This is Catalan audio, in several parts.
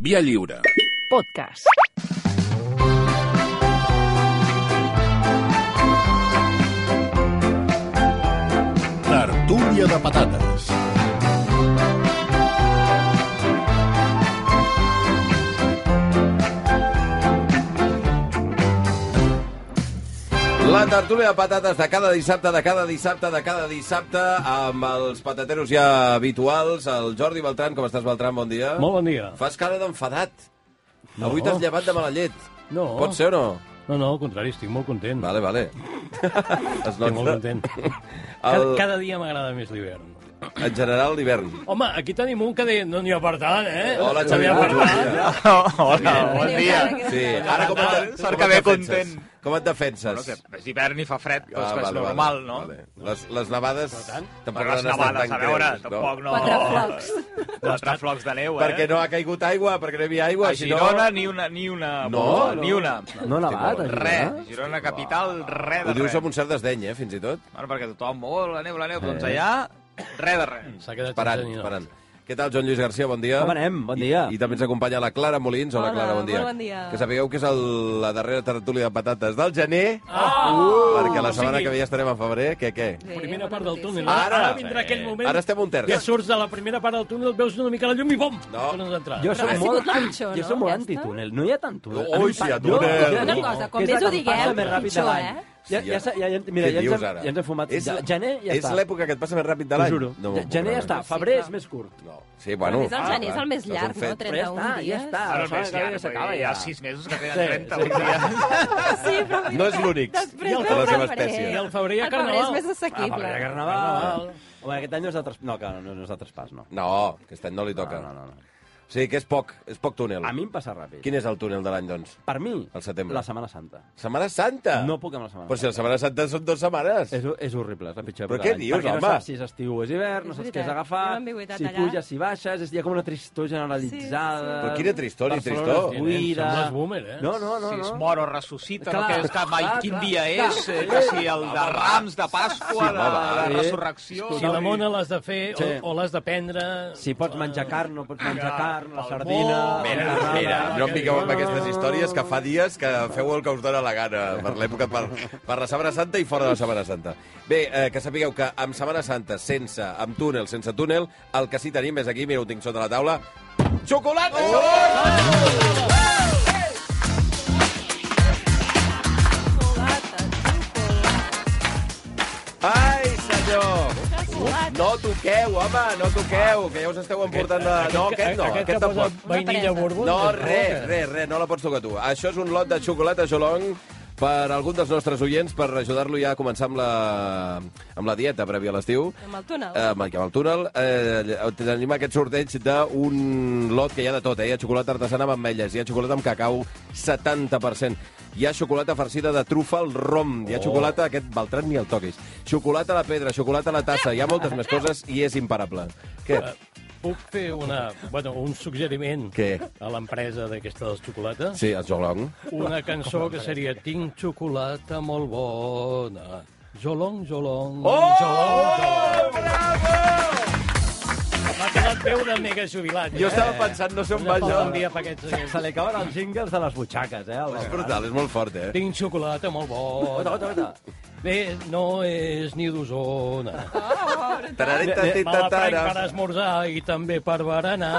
Via lliure. Podcast. Tertúlia de patates. La tertúlia de patates de cada dissabte, de cada dissabte, de cada dissabte, amb els patateros ja habituals, el Jordi Beltran. Com estàs, Beltran? Bon dia. Molt bon dia. Fas cara d'enfadat. Avui t'has llevat de mala llet. No. Pot ser o no? No, no, al contrari, estic molt content. Vale, vale. Es Estic molt content. Cada, doncs, El, cada dia m'agrada més l'hivern. en general, l'hivern. Home, aquí tenim un que deia, no n'hi ha per tant, eh? Hola, No n'hi Xavier. ha per tant. Hola, bon dia. Sí, ara com et, com Sort que et ve defenses? content. Com et defenses? Bueno, que és hivern i fa fred, però és que és Ah, vale, normal, vale, no? Vale. Les, les nevades tampoc Però les han estat nevades, tan a veure, greus, tampoc no... Quatre flocs. Quatre flocs de neu, eh? Perquè no ha caigut aigua, perquè no hi havia aigua. A Girona ni una, ni una... No? bola, Ni una. No ha nevat, a Res. Girona? Girona capital, res Ho de dius res. amb un cert desdeny, eh, fins i tot. Bueno, perquè tothom, oh, la neu, la neu, doncs allà, res de res. S'ha quedat Esperant, sense ninots. esperant. Què tal, Joan Lluís Garcia? Bon dia. Com anem? Bon dia. I, I també ens acompanya la Clara Molins. Hola, Hola, Clara, bon dia. molt bon dia. Que sapigueu que és el, la darrera tertúlia de patates del gener, Ah! Uh! Uh! perquè la O setmana sigui- que ve ja estarem a febrer. Què, què? Bé, Primera bona part del notícia. túnel. Ara! eh, Ara vindrà aquell moment Ara estem un que terç. surts de la primera part del túnel, veus una mica la llum i bom! No. Tornes a entrar. Jo Però soc ha molt, sigut pitjor, jo no? soc molt Ja antitúnel. No hi ha tant túnel. Ui, A mi em sí, hi ha pa- jo- túnel. jo- Una cosa, com que més és la ho campana digueu, més ràpid de pitjor, l'any. eh? Ja, ja, ja, ja, ja, mira, Què ja, dius, ens, ara? hem- ja ens hem fumat. És, Ja, gener ja és està. l'època que et passa més ràpid de T'ho l'any. juro. No m'ho Ja- puc gener ja creure. està. Febrer clar. és més curt. No. Sí, bueno. A més, el gener és el més clar, llarg, és un fet. no? Però ja 31 està, ja dies. està. Ara La és més setmana que llarg, ve perquè ja s'acaba. hi ha Ja. sis mesos que Sí, queden 30 sí. un dia. Sí, però mira No és que l'únic. Després I el del de la seva febrer. espècie. I el febrer hi ha El febrer és carnaval. més assequible. Ah, Carnaval. Home, aquest any no és de traspàs. No, clar, no, no és de traspàs, no. No, aquest any no li toca. No, no, no, no. O sigui que és poc, és poc túnel. A mi em passa ràpid. Quin és el túnel de l'any, doncs? Per mi, El setembre. la Setmana Santa. Setmana Santa! No puc amb la Setmana Però si la Setmana Santa són dues setmanes. És, és horrible, és la pitjor Però època què de l'any, dius, perquè home? no saps si és estiu o és hivern, no És saps què has veritat, d'agafar, hi ha una ambigüitat si allà. puges, si baixes, és, hi ha com una tristor generalitzada... Però quina tristor i Barcelona tristor. es Ui, nen, buida. som els boomer, eh? No, no, no. Si es no. mor o ressuscita, no Clar, tens cap mai clar, quin clar, dia clar. és, eh, que si el de Rams, de Pasqua, de, de vale. Resurrecció... Si la mona l'has de fer o, Sí. o l'has de prendre... Si pots menjar carn, no pots menjar carn, la el sardina... bo. la Mira, carnada. mira, no em piqueu amb aquestes històries que fa dies que feu el que us dóna la gana per l'època, per, per la Setmana Santa i fora de la Setmana Santa. Bé, eh, que sapigueu que amb Setmana Santa, sense, amb túnel, sense túnel, el que sí tenim és aquí, mira, ho tinc sota la taula, xocolata! Oh! Ai, senyor! No toqueu, home, no toqueu, que ja us esteu emportant de... No, aquest no, aquest, aquest que posa tampoc. vainilla presa. bourbon... No, res, res, res, no la pots tocar tu. Això és un lot de xocolata Jolong per algun dels nostres oients per ajudar-lo ja a començar amb la, amb la dieta prèvia a l'estiu. Amb el túnel. Eh, amb el, amb el túnel. Eh, tenim aquest sorteig d'un lot que hi ha de tot, eh? Hi ha xocolata artesana amb ametlles, hi ha xocolata amb cacau, 70%. Hi ha xocolata farcida de trufa al rom, hi ha xocolata, aquest Beltran ni el toquis, xocolata a la pedra, xocolata a la tassa, hi ha moltes més coses i és imparable. Què? Puc fer una, bueno, un suggeriment Què? a l'empresa d'aquesta dels xocolates? Sí, el Jolong. una cançó que seria Tinc xocolata molt bona. Jolong, jolong, oh! jolong, jolong. M'ha quedat veu de mega jubilat. eh? Jo estava pensant, no sé on Una va pau jo. d'enviar paquets d'aquests. Se li acaben els jingles de les butxaques, eh? És brutal, és molt fort, eh? Tinc xocolata molt Ota, bona. ota, ota. Bé, no és ni d'Osona. Tararit, Me tatit, la prenc tatara. per esmorzar i també per berenar.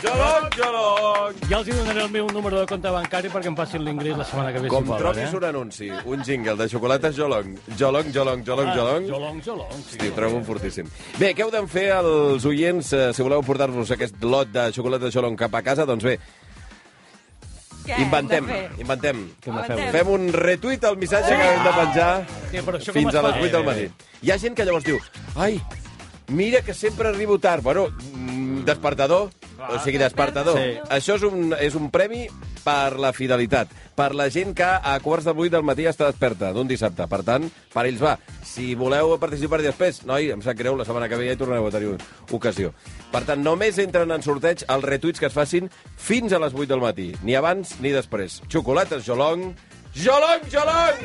Jolong, jolong! Ja els hi donaré el meu número de compte bancari perquè em facin l'ingrés la setmana que ve. Com si poden, trobis eh? un anunci, un jingle de xocolates jolong, jolong, jolong, jolong, jolong, Ah, Jolong, jolong. Sí. Hosti, ho trobo fortíssim. Bé, què heu de fer els oients eh, si voleu portar-vos aquest lot de xocolates jolong cap a casa? Doncs bé, Què inventem, Eh, hem de fer? inventem. Avancem. Fem un retuit al missatge que hem de penjar Sí, però això com fins es a les fa? 8 del matí. Hi ha gent que llavors diu, ai, mira que sempre arribo tard. Bueno, mm, despertador, o sigui, despertador. Sí. Això és un, és un premi per la fidelitat, per la gent que a quarts de vuit del matí està desperta d'un dissabte. Per tant, per ells va. Si voleu participar després, noi, em sap greu, la setmana que ve ja hi tornareu a tenir ocasió. Per tant, només entren en sorteig els retuits que es facin fins a les 8 del matí, ni abans ni després. Xocolates Jolong, Jolong, Jolong!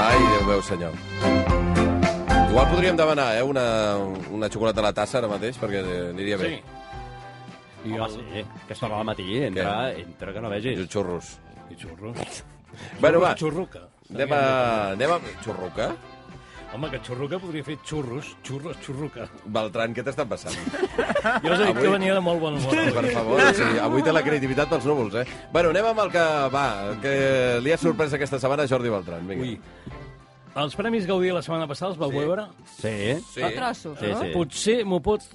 Ai, Déu meu senyor. Igual podríem demanar eh, una, una xocolata a la tassa ara mateix, perquè eh, aniria bé. Sí. I Home, el... sí, eh. que es torna al matí, entra, entra que no I vegis. els xurros. I xurros. Bueno, va, Xurruca. anem a... Anem a... Xurruca? Home, que xurruca podria fer xurros, xurros, xurruca. Beltran, què t'està passant? Jo us he dit Avui- que venia de molt bon humor. Per favor, sí, avui té la creativitat pels núvols, eh? Bueno, anem amb el que va, que li ha sorprès aquesta setmana a Jordi Beltran. Vinga. Ui. Els Premis Gaudí la setmana passada els vau Sí. veure? Sí. Sí. A trossos, Sí, no? sí. Potser m'ho pots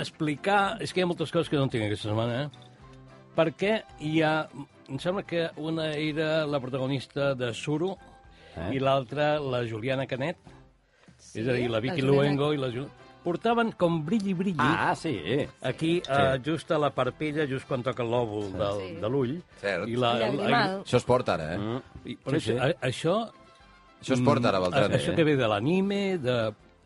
explicar... És que hi ha moltes coses que no tinc aquesta setmana, eh? Perquè hi ha... Em sembla que una era la protagonista de Suro eh? Eh? i l'altra la Juliana Canet, sí, és a dir, la Vicky Juliana- Luengo i la Ju... Portaven com brilli, brilli... Ah, sí. Aquí, sí. eh, just a la parpella, just quan toca el lòbul del, Sí. de l'ull. Cert. I la, El llagrimal. Això es porta ara, eh? Mm. i, però Sí, sí, sí. sí. Això, Això es porta ara, Beltran, Mm, això que eh? ve de l'anime, de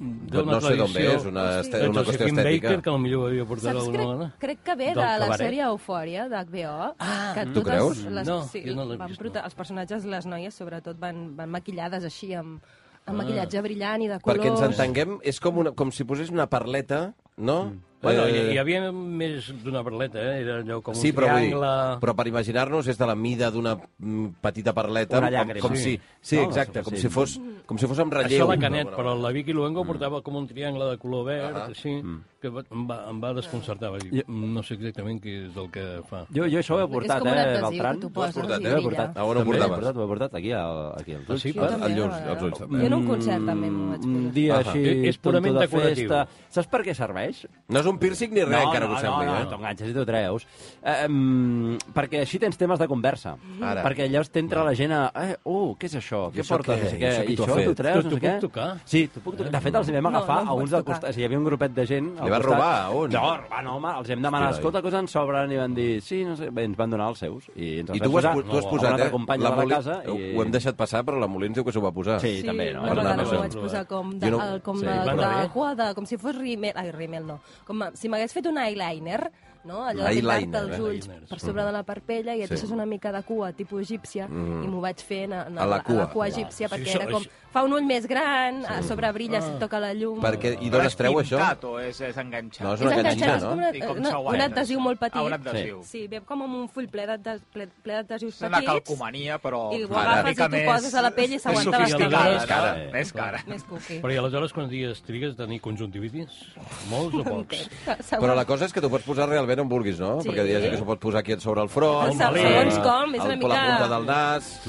d'una No sé d'on ve, tradició és una, este- de una qüestió Josephine estètica. Baker, que potser ho havia portat Saps, alguna crec, vegada. crec que ve Del de la cabaret. sèrie Eufòria, d'HBO, ah, que tu totes creus? Les, No, sí, jo no l'he van vist, prota- no. Els personatges, les noies, sobretot, van, van maquillades així, amb, amb maquillatge brillant i de colors. Perquè ens entenguem, és com, una, com si posés una parleta, no? Mm. Bueno, hi, Eh, hi havia més d'una parleta, eh? Era allò com Sí, un però, vull dir, triangle... però per imaginar-nos és de la mida d'una mm, petita parleta. Una com, llàgrima. com si, Sí. sí, No, exacte, com sí. si fos, com si fos amb relleu. Això la Canet, d'alguna però manera. la Vicky Mm. Luengo portava com un triangle de color verd, Ah, així, que va- em va, em va desconcertar. Vaig dir, no sé exactament què és el que fa. Jo, jo això ho he portat, és com un eh, adhesiu Beltran? que tu Ho poses, has portat, i eh? Jo he brilla. portat. Ah, on ho També portaves? Ho he portat, ho he portat aquí, al, aquí als Ah, ulls. sí? Jo també, Els de ulls, vegades. els ulls, també. Jo en un concert també m'ho vaig Mm, Un posar. dia Ahà. així, És- és tonto purament de decoratiu. festa. Saps per què serveix? No és un piercing ni res, encara no, que ho sembli, no, eh? no, t'ho enganxes i t'ho treus. Eh, um, perquè així tens temes de conversa. Mm. Ara. Perquè llavors t'entra la gent a... Eh, uh, què és això? I Què això portes? què? No sé què. I això qui I t'ho ha això fet? t'ho treus, Tu- no t'ho sé què. puc tocar? Sí, t'ho puc tocar. De fet, els vam agafar no em a pots uns del tocar. costat. O sigui, hi havia un grupet de gent al Li vas costat. robar, on? No, robar no, home. Els hem demanat, Hòstia, escolta, que ens sobren. I van dir, sí, no sé. Bé, ens van donar els seus. I ens els I vam tu ho has, posar pu- tu has a posat, un altre eh? company de la Molins- casa. i- Ho hem deixat passar, però la Molins diu que s'ho va posar. Sí, també, no? una Per anar vegada m'ho passant. vaig posar com de, Jo no- el, com Sí, de, va anar bé. d'aigua, de, com si fos rímel, ai, rímel no, com a, si m'hagués fet un eyeliner, no? allò de Eyeliner, pintar-te els eh? ulls Eyeliner, per sobre de la parpella i et Sí. Mm. deixes una mica de cua, tipus egípcia, i m'ho vaig fer a, A la a cua. la cua egípcia, Sí, perquè això- era com, això- fa un ull més gran, a sobre brilla, si et toca la llum... Perquè, I d'on es treu això? pintat o és, és enganxat? No, és És una enganxat, és enganxina, com no? una, I com no, s'aguanta, un adhesiu això? molt petit. Ah, un adhesiu. Sí, ve com amb un full ple d'adhesius ple, ple d'adhesius És una petits. calcomania, però... I ho una agafes mica i t'ho més- poses a la pell i més s'aguanta bastant. sofisticada, És cara. no? Més cara. Més cuqui. Però i aleshores quants dies trigues a tenir conjuntivitis? Molts o pocs? Però la cosa és que t'ho pots posar realment on vulguis, no? Sí. Perquè dius que s'ho pot posar aquí sobre el front, Se- segons com, és una al- a la mica- Mm. punta del nas...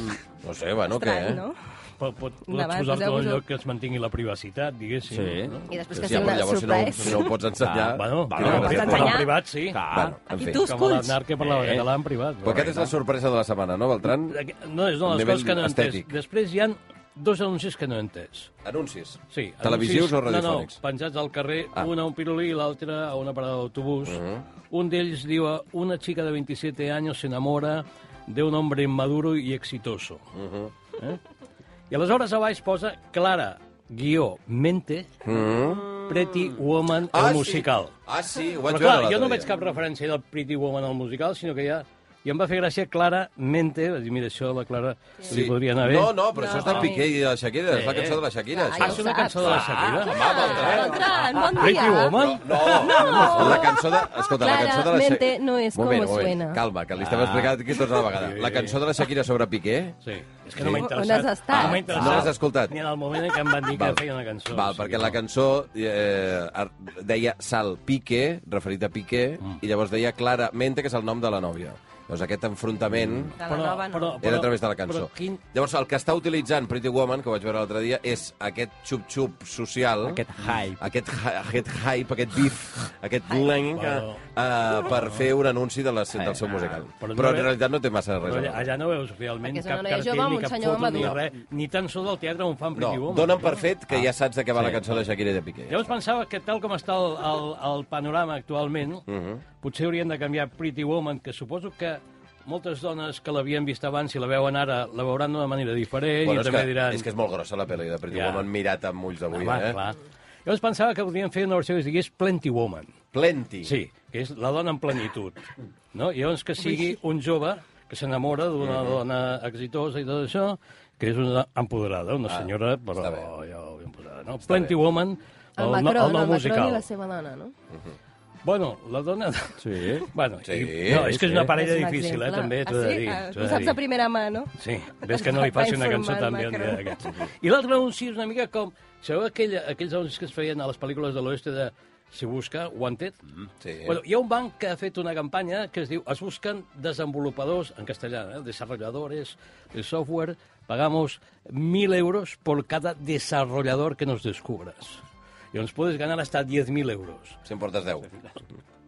No sé, bueno, què, eh? Estrany, no? Pot, pot, pots Endavant, posar-te en un poseu-vos-ho. lloc que es mantingui la privacitat, diguéssim. Sí. No? I després Sí, que sí, sigui però una llavors si no, ho- surprise. si no ho pots ensenyar... Ah, bueno, quina bueno, no, gràcia però pots et fa. en ensenyar. privat, sí. Clar. Bueno, en Aquí fi. tu- Com a Esculls. l'anar que parlava Eh. català en privat. Però aquesta és la sorpresa de la setmana, no, Beltran? No, és una de les Nivell coses que no he entès. estètic. Després hi han dos anuncis que no he entès. Anuncis. Sí, Televisius anuncis- o radiofònics? No, no, penjats al carrer, Ah. Uh-huh. ah. un a un pirulí i l'altre a una parada d'autobús. Uh -huh. Un d'ells diu, una chica de 27 años se enamora de un hombre maduro y exitoso. Uh -huh. Uh-huh. eh? I aleshores a baix posa Clara, guió, mente, uh -huh. pretty woman, ah, el musical. Uh-huh. Sí. Ah, sí, ho vaig veure Però clar, l'altre jo no dia. veig cap referència del Pretty Woman al musical, sinó que ja... I em va fer gràcia Clara Mente, vaig dir, mira, això a la Clara sí. li podria anar bé. No, no, però No. això és del Piqué i de la Shakira, és la cançó de la Shakira, Clar, Ah, això. és una cançó de la Shakira? Va, Beltran. Beltran, bon dia. Pretty Woman? No, la cançó de... Escolta, la cançó de la Shakira... Claramente no és moment, como moment. suena. Calma, que li Ah. estem explicant aquí tots a la vegada. La cançó de la Shakira sobre Piqué... Sí, és que no m'ha Sí. interessat. On has estat? No m'ha interessat. No l'has escoltat. Ni en el moment en què em van dir que Val. feia una cançó. Val, perquè la cançó eh, ar- deia Sal Piqué, referit a Piqué, Mm. i llavors deia claramente que és el nom de la nòvia. Llavors aquest enfrontament... Mm. De la nova, no. Era a través de la cançó. Però quin... Llavors, el que està utilitzant Pretty Woman, que ho vaig veure l'altre dia, és aquest xup-xup social, Aquest hype. aquest, hy- aquest hype, aquest bif, aquest blanc, Bueno. Ah, eh, per fer un anunci de la, del seu musical. Però no Però en ve- realitat no té massa res. Però a allà, veure. allà no veus realment Perquè és una cap noia cartell, jove amb ni un cap senyor foto, ni madur. res. Ni tan sols al teatre on fan Pretty No, Woman. donen per fet que ja saps de què va la cançó de Shakira i de Piqué. Llavors pensava que tal com està el, el, el panorama actualment, uh Mhm. -huh. potser haurien de canviar Pretty Woman, que suposo que moltes dones que l'havien vist abans i la veuen ara la veuran d'una manera diferent i Bueno, és, també que, diran... és que és molt grossa la pel·li de Pretty Ja. Woman mirat amb ulls d'avui, Home, eh? clar. Llavors pensava que podrien fer una versió que es digués Plenty Woman. Plenty. Sí, que és la dona en plenitud. No? I llavors que sigui un jove que s'enamora d'una Mhm. dona exitosa i tot això, que és una empoderada, una senyora, però Ah, està bé. ja ho havia empoderada. Està, no? Plenty Woman, El, no- Macron, el, nou Macron musical. i la seva dona, no? Bueno, la dona... Sí. Bueno, Sí, i- no, és que és sí. una parella És un difícil, eh, exemple. també, t'ho Ah, he de sí? dir. Ah, t'ho he Tu de saps dir. a primera mà, no? Sí, ves que no li faci una cançó tan bé. Informar el d'aquest. I l'altre anunci és una mica com... Sabeu aquella, aquells anuncis que es feien a les pel·lícules de l'oest de Si busca, Wanted? Mm-hmm. Mm, sí. Bueno, hi ha un banc que ha fet una campanya que es diu Es busquen desenvolupadors, en castellà, eh? desarrolladores de software, pagamos mil euros por cada desarrollador que nos descubras. I ens podes ganar hasta 10.000 euros. Si en portes 10.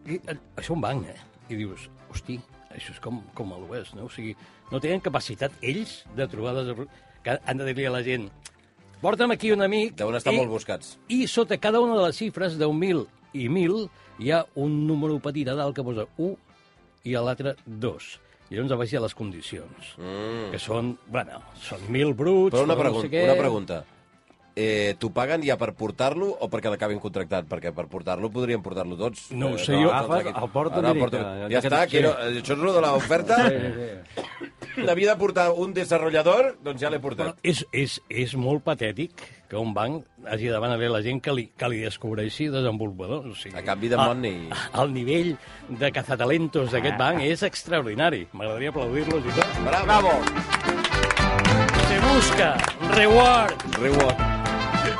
I, eh, és un banc, eh? I dius, hosti, això és com, com a l'oest, no? O sigui, no tenen capacitat ells de trobar... Des... que han de dir-li a la gent, porta'm aquí un amic... Deuen estar molt buscats. I sota cada una de les xifres, 10.000 i 1.000, hi ha un número petit a dalt que posa 1 i a l'altre 2. I llavors a baix hi ha les condicions, mm. que són, bueno, són 1.000 bruts... Però una, però pregunta, no sé què. una pregunta. Eh, T'ho paguen ja per portar-lo o perquè l'acabin contractat? Perquè per portar-lo podrien portar-lo tots. No ho Eh, sé, jo- tots Agafes, aquí. el porto Ara el directe. porto. Ja Ja que- està, sí. que no, això és lo de l'oferta. N'havia de portar un desarrollador, doncs ja l'he Però portat. és, és, és molt patètic que un banc hagi de demanar a la gent que li, que li descobreixi desenvolupadors. O sigui, A canvi de el- money. El nivell de cazatalentos Ah. d'aquest banc és extraordinari. M'agradaria aplaudir-los i tot. Bravo. Bravo! Se busca reward. Reward.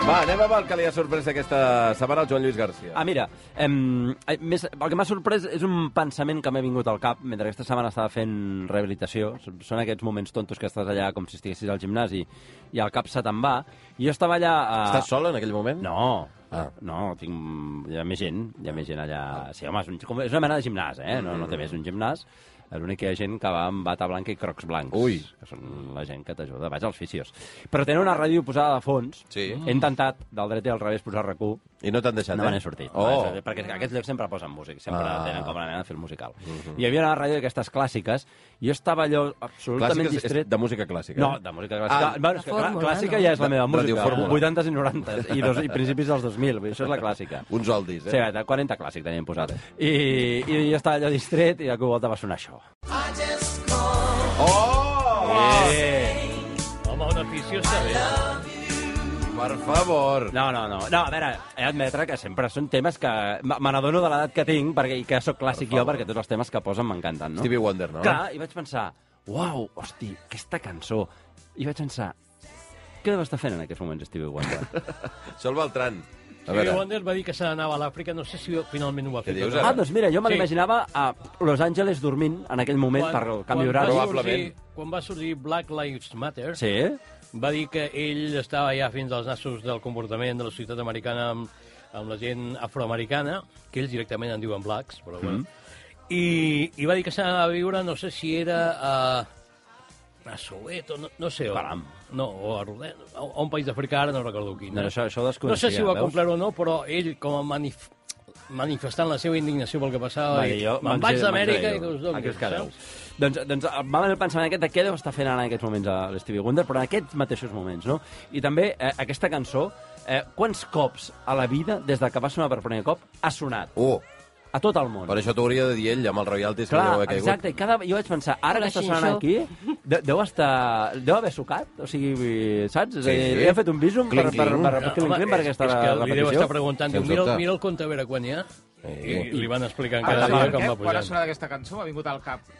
Va, anem amb el que li ha sorprès aquesta setmana al Joan Lluís García. Ah, mira, em, eh, més, el que m'ha sorprès és un pensament que m'ha vingut al cap mentre aquesta setmana estava fent rehabilitació. S- Són aquests moments tontos que estàs allà com si estiguessis al gimnàs i, i el cap se te'n va. I jo estava allà... A... Estàs sol en aquell moment? No, Ah. no, tinc... hi ha més gent, hi ha més gent allà. Sí, home, és, un, com, és una mena de gimnàs, eh? No, no té Mm. més un gimnàs. L'únic que hi ha gent que va amb bata blanca i crocs blancs. Ui. Que són la gent que t'ajuda. Vaig als fisios. Però tenen una ràdio posada de fons. Sí. He intentat, del dret i al revés, posar rac I no t'han deixat, no eh? me n'he sortit. Oh. No, perquè aquests llocs sempre posen músic, sempre Ah. Mhm. ah. tenen com una mena de film musical. I hi havia una ràdio d'aquestes clàssiques, i jo estava allò absolutament Clàssiques és distret. de música clàssica. No, de música clàssica. Ah. Ah, bueno, és que La fórmula, clà- clàssica no? ja és la meva De- música, radiofórmula. 80s i 90s, i, dos, i principis dels 2000, vull dir, això és la clàssica. Uns oldis, Sí, eh? de 40 clàssic teníem posat. I, I jo estava allò distret i de cop i volta va sonar això. Oh! Eh. Home, una afició està bé. Per favor. No, no, no. No, a veure, he d'admetre que sempre són temes que... me- Me n'adono de l'edat que tinc perquè, i que sóc clàssic Per jo favor. perquè tots els temes que posen m'encanten, no? Stevie Wonder, no? Clar, i vaig pensar, uau, hosti, aquesta cançó. I vaig pensar, què deu estar fent en aquests moments Stevie Wonder? Sol Beltran. A Stevie veure, Wonder va dir que se n'anava a l'Àfrica, no sé si finalment ho va Què fer. dius, però- ara? ah, doncs mira, jo me Sí. l'imaginava a Los Angeles dormint en aquell moment per el quan va canvi horari. Probable. Probablement. Sorgir, quan va sorgir Black Lives Matter, Sí? va dir que ell estava ja fins als nassos del comportament de la societat americana amb, amb la gent afroamericana, que ells directament en diuen blacks, però bueno. I, I va dir que s'anava a viure, no sé si era a, a Soweto, no, no sé on. Caram. No, o a, Rodè- a, a un país d'Àfrica, ara no recordo quin. No, eh? això- això ho desconeixia, No sé si ho va veus? complir o no, però ell, com a manif manifestant la seva indignació pel que passava, Va va dir, dir, jo me'n vaig d'Amèrica i que us doni. Aquí us quedeu. Doncs, doncs em va venir el pensament aquest de què deu estar fent ara en aquests moments a l'Stevie Wonder, però en aquests mateixos moments, no? I també eh, aquesta cançó, eh, quants cops a la vida, des de que va sonar per primer cop, ha sonat? Uh, A tot el món. per això t'ho hauria de dir ell, amb el royalties que li deu Clar, haver caigut. exacte. i Cada... Jo vaig pensar, ara Però que està així, sonant això. aquí, de, deu estar... Deu haver sucat, o sigui, vull- saps? Sí, Sí, sí. sí. Li ha fet un bísum per, Cling, per, cling. per, per, cling, cling, per aquesta és que li deu repetició. estar preguntant, Sens diu, mira, dubte. el- mira el compte a veure quan hi ha, i, i li van explicant Ara, cada sí, dia eh, com va quan ha pujant. sonat aquesta cançó m'ha vingut al cap.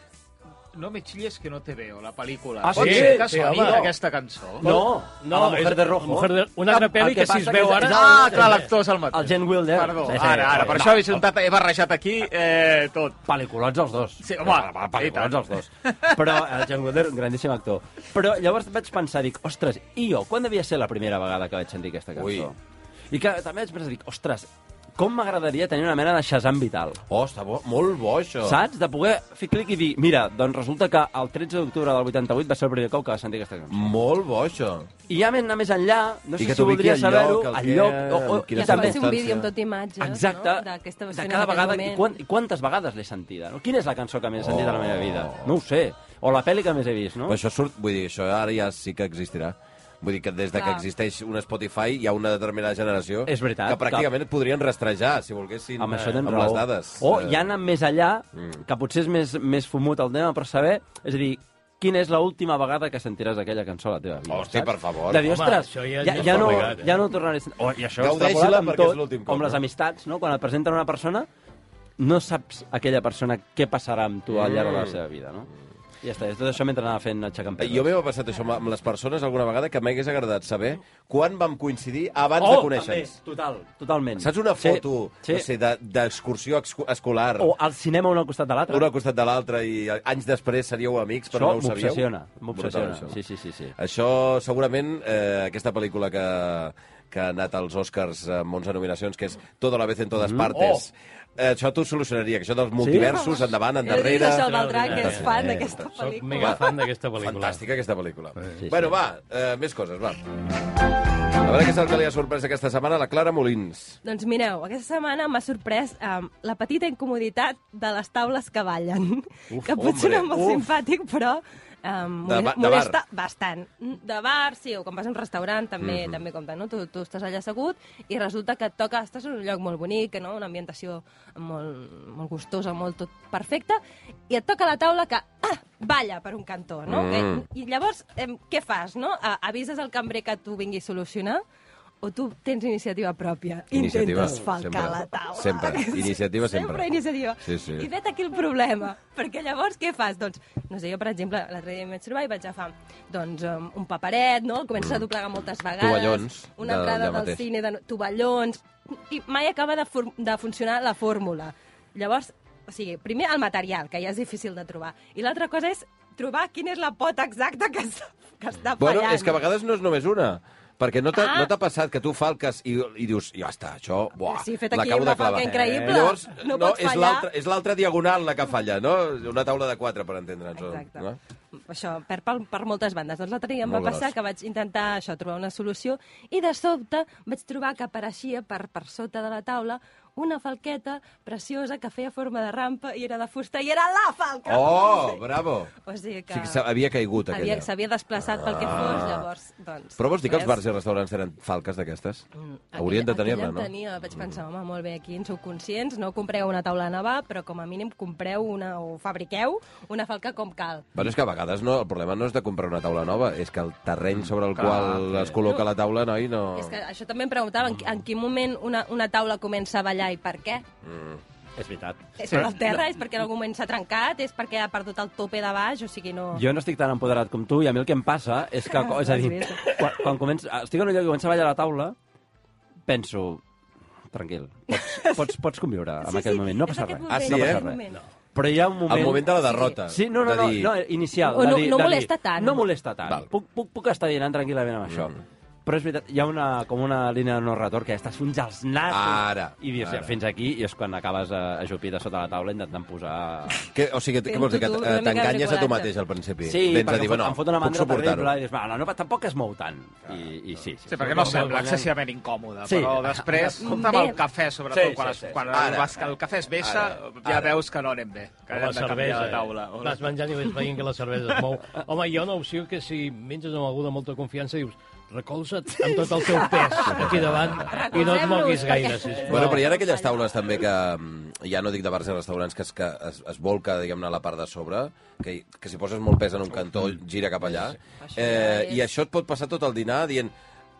No me chilles que no te veo, la pel·lícula. Ah, sí? Pot ser que Sí, soni home. aquesta cançó? No, No, a la Mujer és de Rojo. Mujer de- una altra El pel·li que si passa es veu és- ara- és el- Ah, clar, l'actor és el mateix. El Gene Wilder. Perdó, Sí, sí, ara, ara, sí, per sí. això he, juntat, he barrejat aquí eh, tot. Pel·lículots els dos. Sí, home, Va, va, i tant. pel·lículots els dos. Però el John Wilder, un grandíssim actor. Però llavors vaig pensar, dic, ostres, i jo, quan devia ser la primera vegada que vaig sentir aquesta cançó? Ui. I que també vaig pensar, dic, ostres, com m'agradaria tenir una mena de Shazam vital. Oh, està bo, molt bo, això. Saps? De poder fer clic i dir, mira, doncs resulta que el 13 d'octubre del 88 va ser el primer cop que va sentir aquesta cançó. Molt bo, això. I ja anar més enllà, no I sé que si t'ubiqui voldria al saber-ho, lloc, al al què, lloc, o, o, amb I quina i es va també... fer un vídeo circumstància. amb tot imatges, Exacte, no? De, què estava de fent en cada aquell vegada, i, moment. quan, i quantes vegades l'he sentida, no? Quina és la cançó que més he sentit a la meva vida? No ho sé, o la pel·li que més he vist, no? Però això surt, vull dir, això ara ja sí que existirà. Vull dir que des de que Clar. existeix un Spotify hi ha una determinada generació És veritat, que pràcticament et podrien rastrejar, si volguessin, eh, Amb això tens amb raó. Oh, les dades. O Eh, Mm. ja anant més allà, que potser és més, més fumut el tema, però saber, és a dir, quina és l'última vegada que sentiràs aquella cançó a la teva vida. Hosti, saps? per favor. De dir, Home, ostres, això ja, ja- ja, ja ja, està no, obligat, eh? ja no tornaré a sentir... Oh, I això és Gaudeix-la extrapolat amb perquè és tot, l'últim cop, Com les no? amistats, no? Quan et presenten una persona, no saps aquella persona què passarà amb tu al llarg de la seva vida, no? I ja està, és tot això mentre anava fent aixecant pedres. Mm. Eh, Jo m'he passat això amb- amb les persones alguna vegada que m'hagués agradat saber quan vam coincidir abans de conèixer-nos. Oh, també, total, totalment. Saps una foto, Sí, Oh, no sí. sé, de- d'excursió excu- escolar, O al cinema un al costat de l'altre. una al costat de l'altra i anys després seríeu amics, però Això no ho sabíeu? m'obsessiona, m'obsessiona. Brutal, això. Sí, sí, sí, sí. Això, segurament, eh, aquesta pel·lícula que, que ha anat als Oscars amb 11 nominacions, que és Toda la vez en Mm-hmm. todas partes, Oh! eh, això t'ho solucionaria, que això dels multiversos, Ah, endavant, He de endarrere... salvar el drac, que és fan Eh, d'aquesta Soc pel·lícula. mega fan d'aquesta pel·lícula. Fantàstica, aquesta pel·lícula. sí. bueno, va, eh, més coses, va. A veure què és el que li ha sorprès aquesta setmana a la Clara Molins. Doncs mireu, aquesta setmana m'ha sorprès um, la petita incomoditat de les taules que ballen, uf, que potser no és hombre, molt uf. simpàtic, però um, De ba- de molesta bar. Mhm. bastant. Mm, De bar, sí, o quan vas a un restaurant també mm -hmm. també compta, no? Tu, tu estàs allà assegut i resulta que et toca, estàs en un lloc molt bonic, no? una ambientació molt, molt gustosa, molt tot perfecte, i et toca la taula que, ah, balla per un cantó, no? Mhm. Mm. I llavors, em, què fas, no? A- Avises al cambrer que t'ho vingui a solucionar o tu tens iniciativa pròpia? Iniciativa, Intentes falcar sempre. la taula. Sempre. Iniciativa, sempre. Sempre iniciativa. Sí, sí. I vet aquí el problema, perquè llavors què fas? Doncs, no sé, jo, per exemple, l'altre dia em vaig trobar i vaig agafar doncs, um, un paperet, no? El comença a doblegar moltes vegades. Mm. Tovallons Una de- entrada d'allà del mateix. cine, de tovallons... I mai acaba de, for- de funcionar la fórmula. Llavors, o sigui, primer el material, que ja és difícil de trobar. I l'altra cosa és trobar quina és la pota exacta que està, que està Bueno, fallant. és que a vegades no és només una. Perquè no t'ha Ah. no t'ha passat que tu falques i, i dius, ja està, això, buah, Sí, he fet aquí l'acabo una de clavar. Eh, falca increïble. Llavors, No no pots és fallar. l'altra- és l'altra diagonal la que falla, no? Una taula de quatre, per entendre'ns. o- Exacte. No? Això, perd per, per moltes bandes. Doncs l'altre dia em va Molt passar gros. que vaig intentar això, trobar una solució, i de sobte vaig trobar que apareixia per, per sota de la taula una falqueta preciosa que feia forma de rampa i era de fusta i era la falca! Oh, bravo! O sigui Que... que, Sí que s'ha- havia caigut, aquella. havia- s'havia desplaçat pel que fos, llavors, doncs... Mm, Però vols dir que els res. bars i restaurants tenen falques d'aquestes? Haurien de tenir-ne, no? Mm. Tenia, vaig pensar, home, molt bé, aquí en sou conscients, no compreu una taula nova, però com a mínim compreu una, o fabriqueu una falca com cal. Bueno, és que a vegades no, el problema no és de comprar una taula nova, és que el Mm. terreny sobre el Clar, qual sí. es col·loca la taula, noi, no... És Ah. que això també em preguntava, en, qui- en quin moment una, una taula comença a ballar i per què? És veritat. És per al terra, és perquè en algun moment s'ha trencat, és perquè ha perdut el tope de baix, o sigui, no... Jo no estic tan empoderat com tu i a mi el que em passa és que, és a dir, quan, quan comença, estic en un lloc i comença a ballar a la taula, penso, tranquil, pots, pots, pots conviure en Sí, aquell sí, moment, no és passa aquest res. moment, Ah, sí, no eh? passa aquest moment. res. Però hi ha un moment... El moment de la derrota. Sí, no, no, de no, dir, no inicial. O de no- dir- no de dir, molesta tant. No molesta tant. Val. Mm. Puc, puc, puc estar dinant tranquil·lament amb això. Però és veritat, hi ha una, com una línia de no retorn que estàs fins als nassos. Ara, I dius, ara. ja, fins aquí, i és quan acabes a, a jupir de sota la taula intentant posar... Que, o sigui, què Fent vols dir? Que tu t- una eh, mica t'enganyes a tu bricolatge. mateix al principi. Sí, Vens a perquè dir, em, bueno, em fot una puc mandra terrible suportar-ho. i dius, va, no, tampoc es mou tant. I, i sí, sí, Sí, perquè no sembla guanyant. excessivament incòmode, Sí. però després, compte amb Bé. el cafè, sobretot, Sí, quan, sí, es, sí, sí. quan Ara. el, vas, el cafè es vessa, Ara. ja Ara. veures que no anem bé, que O la hem de cervesa. canviar de taula. eh? Vas menjant i vas veient que la cervesa es mou. Home, hi ha una opció que si menges amb algú de molta confiança dius recolza't amb tot el teu pes aquí davant i no et moguis gaire, sisplau. Bueno, però hi ha aquelles taules també que, mm, ja no dic de bars i restaurants, que es, que es, es volca, diguem-ne, la part de sobre, que, que si poses molt pes en un cantó, Mm. gira cap allà. Això ja Eh, I és- això et pot passar tot el dinar dient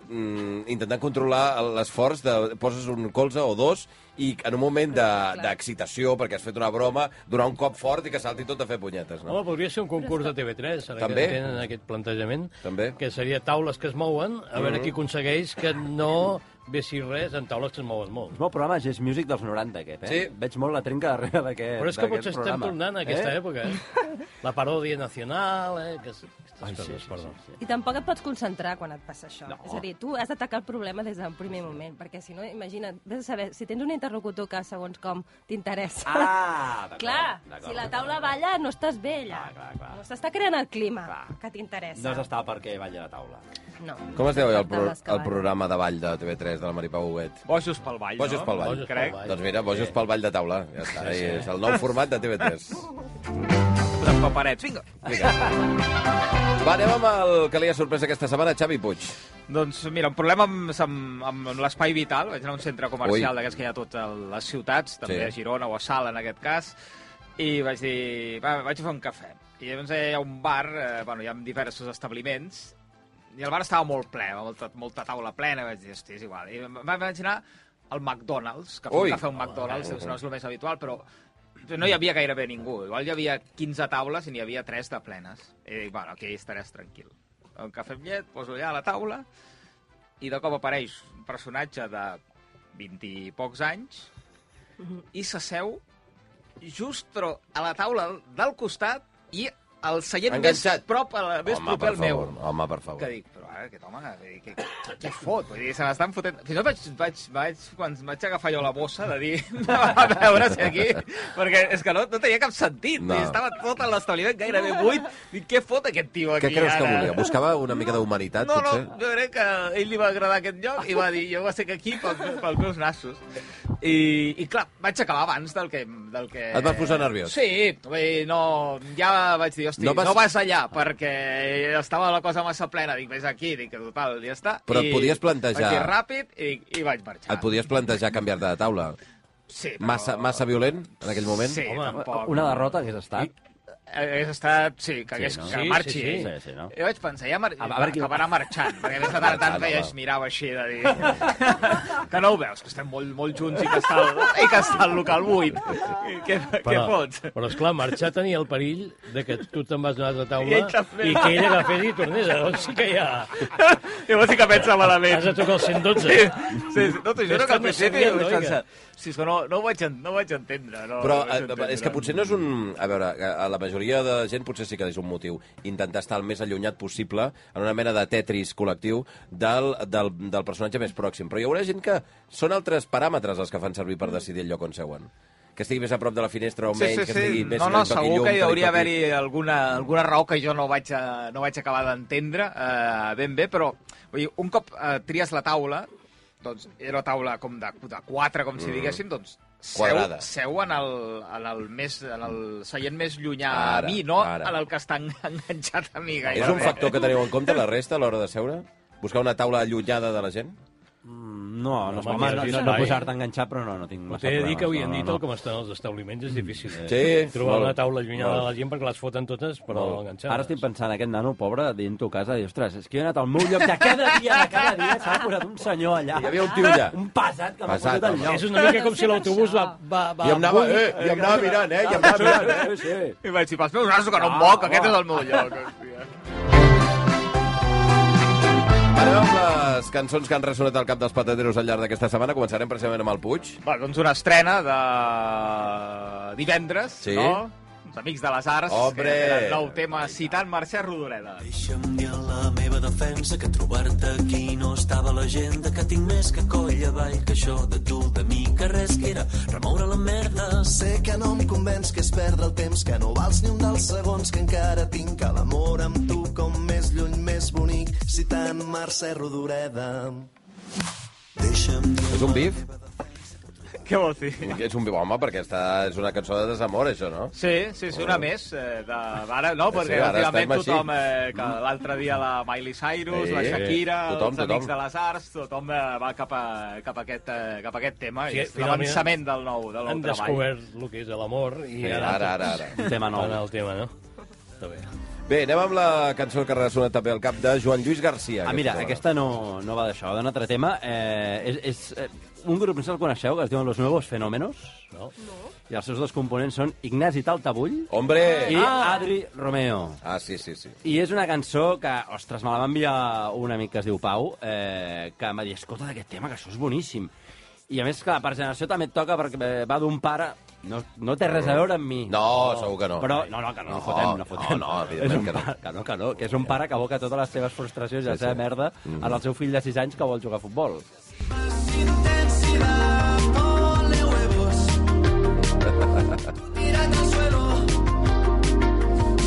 mm, intentant controlar l'esforç de poses un colze o dos i en un moment de- d'excitació de, perquè has fet una broma, donar un cop fort i que salti tot a fer punyetes, no? Home, podria ser un concurs de TV3, ara També. que tenen aquest plantejament, També. que seria taules que es mouen, a Mm. veure qui aconsegueix que no vessi res en taules que es mouen molt. És molt programa Jazz Music dels 90, aquest, eh? Sí. Veig molt la trenca darrere d'aquest Però és que d'aquest potser estem programa. tornant a aquesta època, eh? La paròdia nacional, eh? Que, aquestes Ai, sí, coses, sí, perdó. sí, sí. I tampoc et pots concentrar quan et passa això. No. És a dir, tu has d'atacar el problema des del primer moment, perquè si no, imagina't, vés a saber, si tens un interlocutor que segons com t'interessa... Ah, d'acord. clar, d'acord, si la d'acord. taula balla, no estàs bé allà. Clar, clar, clar. No s'està creant el clima Clar. que t'interessa. No has d'estar perquè balli a la taula. No. Com es deia el, pro Taules que el ballen. programa de ball de TV3 de la Maripau Huguet? Bojos pel ball, Bojos no? pel ball. Bojos pel Crec. ball. Doncs mira, Bojos pel ball de taula. Ja està, sí, sí. és el nou format de TV3. Posem paperets, vinga. Va, anem amb el que li ha sorprès aquesta setmana, Xavi Puig. Doncs mira, un problema amb, amb, amb l'espai vital. Vaig anar a un centre Ui. comercial d'aquests que hi ha a totes les ciutats, també Sí. sí. a Girona o a Sala, en aquest cas, i vaig dir, va, vaig a fer un cafè. I llavors hi ha un bar, eh, bueno, hi ha diversos establiments, i el bar estava molt ple, amb molta, molta taula plena, vaig dir, hòstia, és igual. I em vaig imaginar el McDonald's, que Ui. Ui. fer un McDonald's, eh, oh, no és el més habitual, però no hi havia gairebé ningú. Igual hi havia 15 taules i n'hi havia 3 de plenes. I dic, bueno, aquí estaràs tranquil. Un cafè amb llet, poso allà a la taula, i de cop apareix un personatge de 20 i pocs anys i s'asseu just però a la taula del costat i el seient Enganxat. més prop a la, més home, proper per al meu. favor, home, per favor. Que dic, però ara aquest home, vull dir, què, què fot? Vull dir, se m'estan fotent... Fins i tot vaig, vaig, vaig, quan vaig agafar jo la bossa de dir, a veure si aquí... Perquè és que no, no tenia cap sentit. No. No. Estava tot a l'establiment gairebé buit. Dic, què fot aquest tio aquí Què creus que ara? volia? Buscava una mica d'humanitat, No, no, potser? jo crec que a ell li va agradar aquest lloc i va dir, jo estic aquí pels, pels meus nassos. I, I clar, vaig acabar abans del que... Del que... Et vas posar nerviós? Sí, vull dir, no, ja vaig dir, hosti, No no vas- vas... no vas allà, perquè estava la cosa massa plena, dic, vés aquí, dic, total, ja està. Però et I podies plantejar- Vaig dir ràpid i, i vaig marxar. Et podies plantejar canviar-te de taula? Sí, però... Massa, massa violent, en aquell moment? Sí, Home, tampoc. Una derrota hagués estat. Hagués estat, sí, que, hagués, no? que Sí, sí, marxi. eh? sí. Sí, sí, no? Jo vaig pensar, ja mar... A veure qui- acabarà marxant, perquè a més de tant en tant Marxant, veia, home. es mirava així de dir... que no ho veus, que estem molt, molt junts i que està el, i que està el local buit. I Què, què fots? Però, esclar, marxar tenia el perill de que tu te'n vas a una altra I taula ell també. i que ell agafés i tornés. Llavors sí que ja Llavors sí que pensa malament. has de tocar el Sí, 112. sí, sí. No t'ho juro que Estan al principi assenyant, vaig oiga. pensar... Si és que no, no, ho vaig, en- no ho vaig entendre. No, Però no ho vaig eh, entendre. és que potser no és un... A veure, a la majoria de gent potser sí que és un motiu. Intentar estar el més allunyat possible en una mena de tetris col·lectiu del, del, del personatge més pròxim. Però hi haurà gent que són altres paràmetres els que fan servir per decidir el lloc on seuen. Que estigui més a prop de la finestra o Mm. Sí, menys, sí, que sí. estigui més... No, no, tal i segur que tal hi i hauria toqui. d'haver-hi alguna, alguna raó que jo no vaig, eh, no vaig acabar d'entendre eh, ben bé, però vull dir, un cop eh, tries la taula, doncs era una taula com de, de quatre, com si diguéssim, doncs seu, Mm. Quadrada. seu en, el, en, el més, en el seient més llunyà Ara, a mi, no ara. en el que està en- enganxat a mi gairebé. És un factor que teniu en compte la resta a l'hora de seure? Buscar una taula allunyada de la gent? No, no, Home, home, no, mira, no, sí, no sí. posar-te enganxat, però no, no tinc massa T'he de dir que avui no, en no, dit, no. el com estan els establiments, és difícil. Eh? Sí, Trobar molt. una taula llunyana Molt. de la gent perquè les foten totes, però Molt. enganxades. Ara estic pensant, aquest nano pobre, dient-ho a casa, i, ostres, és que jo he anat al meu lloc de cada dia, de cada dia, s'ha posat un senyor allà. Hi havia un tio allà. Un pesat que m'ha Pesat, posat al home. lloc. És una mica com si l'autobús va, va, va... I em anava, bull. eh, i em anava mirant, eh, i em anava mirant, eh. Sí, sí. I vaig dir, pels meus nassos que no Ah, em moc, oh. aquest és el meu lloc. hòstia. Ara amb les cançons que han ressonat al cap dels patateros al llarg d'aquesta setmana, començarem precisament amb el Puig. Va, doncs una estrena de divendres, Sí. no? Els Amics de les Arts, Hombre. que tenen el nou tema citant Mercè Rodoreda. Deixa'm dir en la meva defensa que trobar-te aquí no estava a l'agenda, que tinc més que coll avall, que això de tu, de mi, que res que era remoure la merda. Sé que no em convenç que és perdre el temps, que no vals ni un dels segons que encara tinc a l'amor amb tu com més lluny, més bonic, si tant Mercè Rodoreda. Deixa'm dir... És un bif? Què vols dir? És un bif, home, perquè està, és una cançó de desamor, això, no? Sí, sí, sí, una més. Eh, de... Ara, no, perquè Sí, sí, ara últimament estem així. tothom... Eh, que l'altre dia la Miley Cyrus, Sí, la Shakira, sí. Tothom, els Amics tothom. de les Arts, tothom eh, va cap a, cap a, aquest, eh, cap a aquest tema. Sí, Sí, és finalment l'avançament del nou, del nou Han treball. descobert el que és l'amor i Sí, ara, ara, ara, ara. Un tema nou. Anar al tema, no? Està bé. Bé, anem amb la cançó que ha ressonat també al cap de Joan Lluís Garcia. Ah, mira, aquesta no, no va d'això, d'un altre tema. Eh, és, és eh, un grup, no sé si el coneixeu, que es diuen Los Nuevos Fenómenos, No? i els seus dos components són Ignasi Taltabull Hombre! i Ah! Adri Romeo. Ah, sí, sí, sí. I és una cançó que, ostres, me la va enviar un amic que es diu Pau, eh, que em va dir, escolta, d'aquest tema, que això és boníssim. I a més, clar, per generació també et toca, perquè eh, va d'un pare... No, no té res a veure amb mi. No, segur que no. Però, no, no, que no, No, no fotem, no fotem. no, no, és evidentment un que no. pare, que no, que no, que és un pare que aboca totes les seves frustracions i la seva merda Mhm. en el seu fill de 6 anys que vol jugar a futbol. Intensidad, ponle huevos. Tírate al suelo.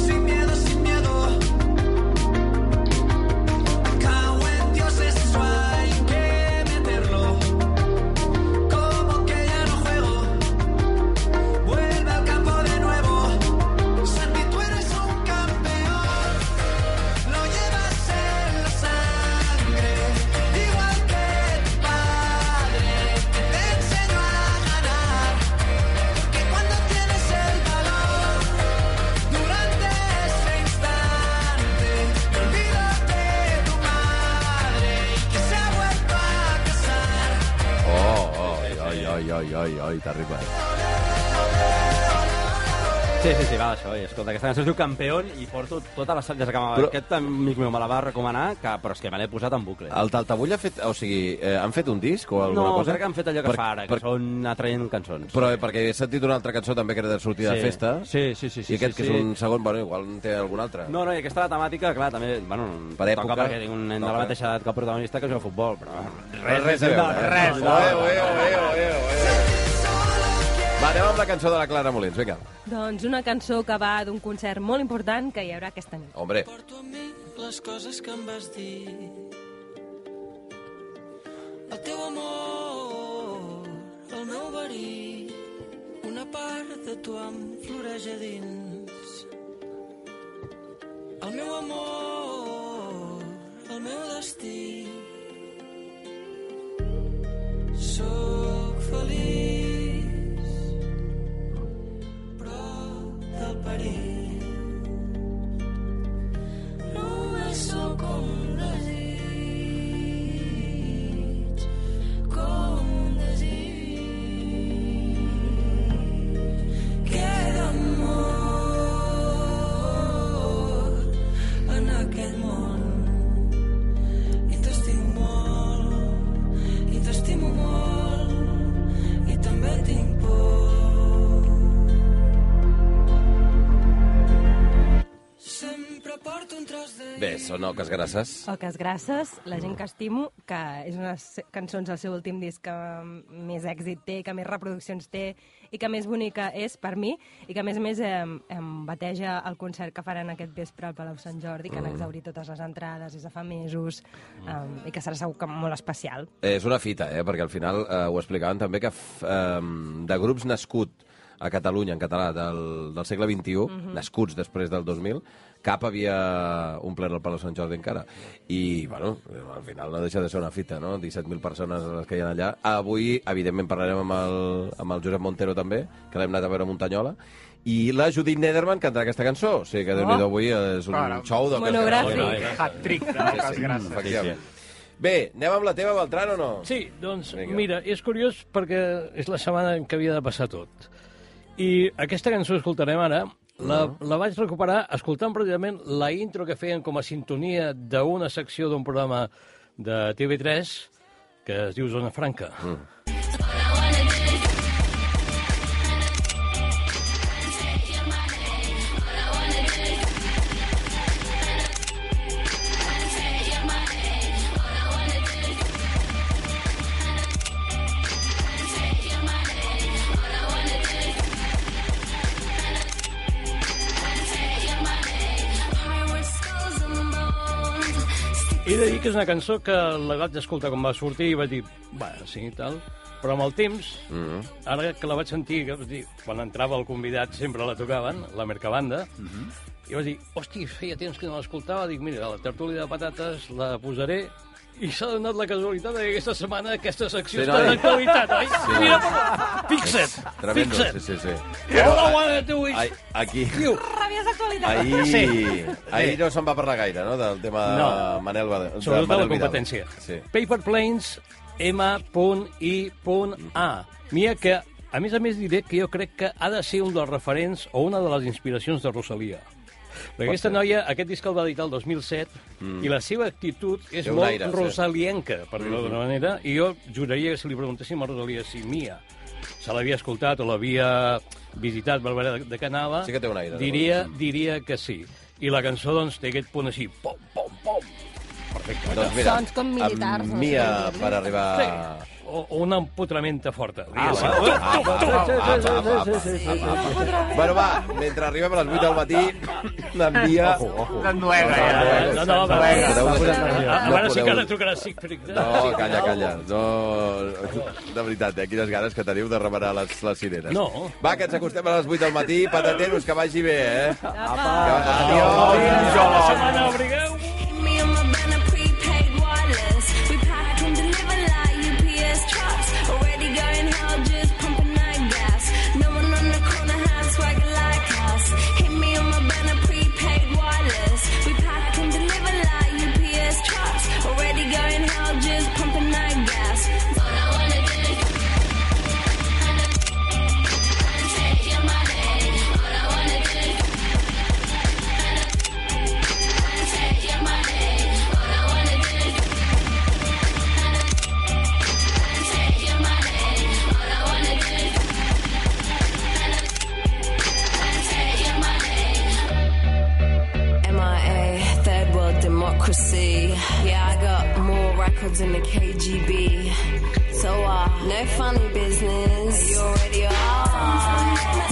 Sin miedo, sin miedo. Cago en Dios, eso hay que meterlo. Como que ya no juego. Vuelve al campo de nuevo. Santi, tú eres un campeón. Lo llevas en la sangre, igual que Oh, ai, ai, ai, ai, terrible. Sí, sí, sí, va, això. I escolta, aquesta cançó es diu Campeón i porto tota la... Des que Però- però... aquest amic meu me la va recomanar, que... però és que me l'he posat en bucle. El Taltabull ha fet... O sigui, eh, han fet un disc o alguna No, cosa? crec que han fet allò que Per- per, fa ara, que per- per... són anar traient cançons. Però eh, perquè he sentit una altra cançó també que era de sortir de Sí. festa. Sí, sí, sí, sí, I aquest sí, que sí. és un segon, bueno, igual en té algun altre. No, no, i aquesta temàtica, clar, també... Bueno, Per època, toca perquè tinc un nen de toca. la mateixa edat que el protagonista que juga a futbol, però... Res, res a veure. eh? res, Oe, no. oe, oe, oe, oe. Va, anem amb la cançó de la Clara Molins, vinga. Doncs una cançó que va d'un concert molt important que hi haurà aquesta nit. Hombre, Porto amb mi les coses que em vas dir. El teu amor, el meu verí, una part de tu em floreix a dins. El meu amor, el meu destí. Soc feliç, prop del perill. Només sóc un desig, com un desig. Queda molt en aquest món. I t'estimo molt, i t'estimo molt, i també tinc por. Sempre porto un tros de... bé, són oques grasses. Oques grasses, la gent que estimo, que és una de les cançons del seu últim disc que més èxit té, que més reproduccions té i que més bonica és per mi i que a més a més em, em bateja el concert que faran aquest vespre al Palau Sant Jordi, que Mm. han exaurit totes les entrades des de fa mesos em, i que serà segur que molt especial. Eh, És una fita, eh? perquè al final eh, ho explicaven també que f, eh, de grups nascut a Catalunya, en català, del, del segle XXI, nascuts després del 2000, cap havia omplert el Palau Sant Jordi encara. I, bueno, al final no deixa de ser una fita, no? 17.000 persones les que hi ha allà. Avui, evidentment, parlarem amb el, amb el Josep Montero també, que l'hem anat a veure a Muntanyola, i la Judit Nederman cantarà aquesta cançó. O sigui que, déu-n'hi-do, avui és un Caram. xou de... Monogràfic. Bueno, eh? Hat-trick de Sí, poques sí, gràcies. efectivament. Bé, anem amb la teva, Beltran, o no? Sí, doncs Vinga. Vinga. mira, és curiós perquè és la setmana en què havia de passar tot. I aquesta cançó que escoltarem ara, la, la vaig recuperar escoltant precisament la intro que feien com a sintonia d'una secció d'un programa de TV3 que es diu Zona Franca. Mm. He de dir que és una cançó que la vaig escoltar quan va sortir i vaig dir, va, sí, tal. Però amb el temps, mm Mm-hmm. -hmm. ara que la vaig sentir, que vaig dir, quan entrava el convidat sempre la tocaven, la Mercabanda, mm Mm-hmm. -hmm. i vaig dir, hosti, feia temps que no l'escoltava, dic, mira, la tertúlia de patates la posaré i s'ha donat la casualitat que aquesta setmana aquesta secció Sí, sí, està noi. d'actualitat, oi? Sí, Sí, mira, però, fixa't, Tremendo, fixa't. sí, sí, sí. All I wanted to wish Ai, aquí... you. Ràbies d'actualitat! Ahir, Sí. ahir no se'n va parlar gaire, no?, del tema de No. Manel Bada- de Sobretot Manel la competència. Vidal. Sí. Paper Planes, M.I.A. Mira que, a més a més, diré que jo crec que ha de ser un dels referents o una de les inspiracions de Rosalia. Perquè aquesta noia, aquest disc el va editar el 2007, mm. i la seva actitud és Té un molt aire, sí. Mm-hmm. rosalienca, per dir-ho d'una manera, i jo juraria que si li preguntéssim a Rosalia si Mia se l'havia escoltat o l'havia visitat Barberà de Canava, Sí que té un aire, diria, diria que sí. I la cançó, doncs, té aquest punt així, pom, pom, pom, Doncs mira, Sons com militars, amb no? Mia per arribar... o, o una empotramenta forta. Ah, diguéssim. va, va, va, va, va, va, va, va. Bueno, va, mentre arribem a les 8 del matí, la Mia... Noruega, Ah, ja. Ah, No, no, va, Vinga. va, va, Podeu- va. A no veure si podeu- que ara trucarà eh? Siegfried. No, calla, calla. No, de veritat, eh? Quines ganes que teniu de remenar les, les sirenes. No. Va, que ens acostem a les 8 del matí. Patateros, que vagi bé, eh? Apa. Fins Adiós. la setmana, obrigueu! Me and my band are prepaid wireless. We pack and deliver like UPS trucks. Already going hard, just pumping night gas. No one on the corner has swagger like us. Hit me on my band are prepaid wireless. We pack and deliver like UPS trucks. Already going hard, just pumping night gas. All I wanna do is Jacobs and the KGB. So, uh, no funny business. You already are.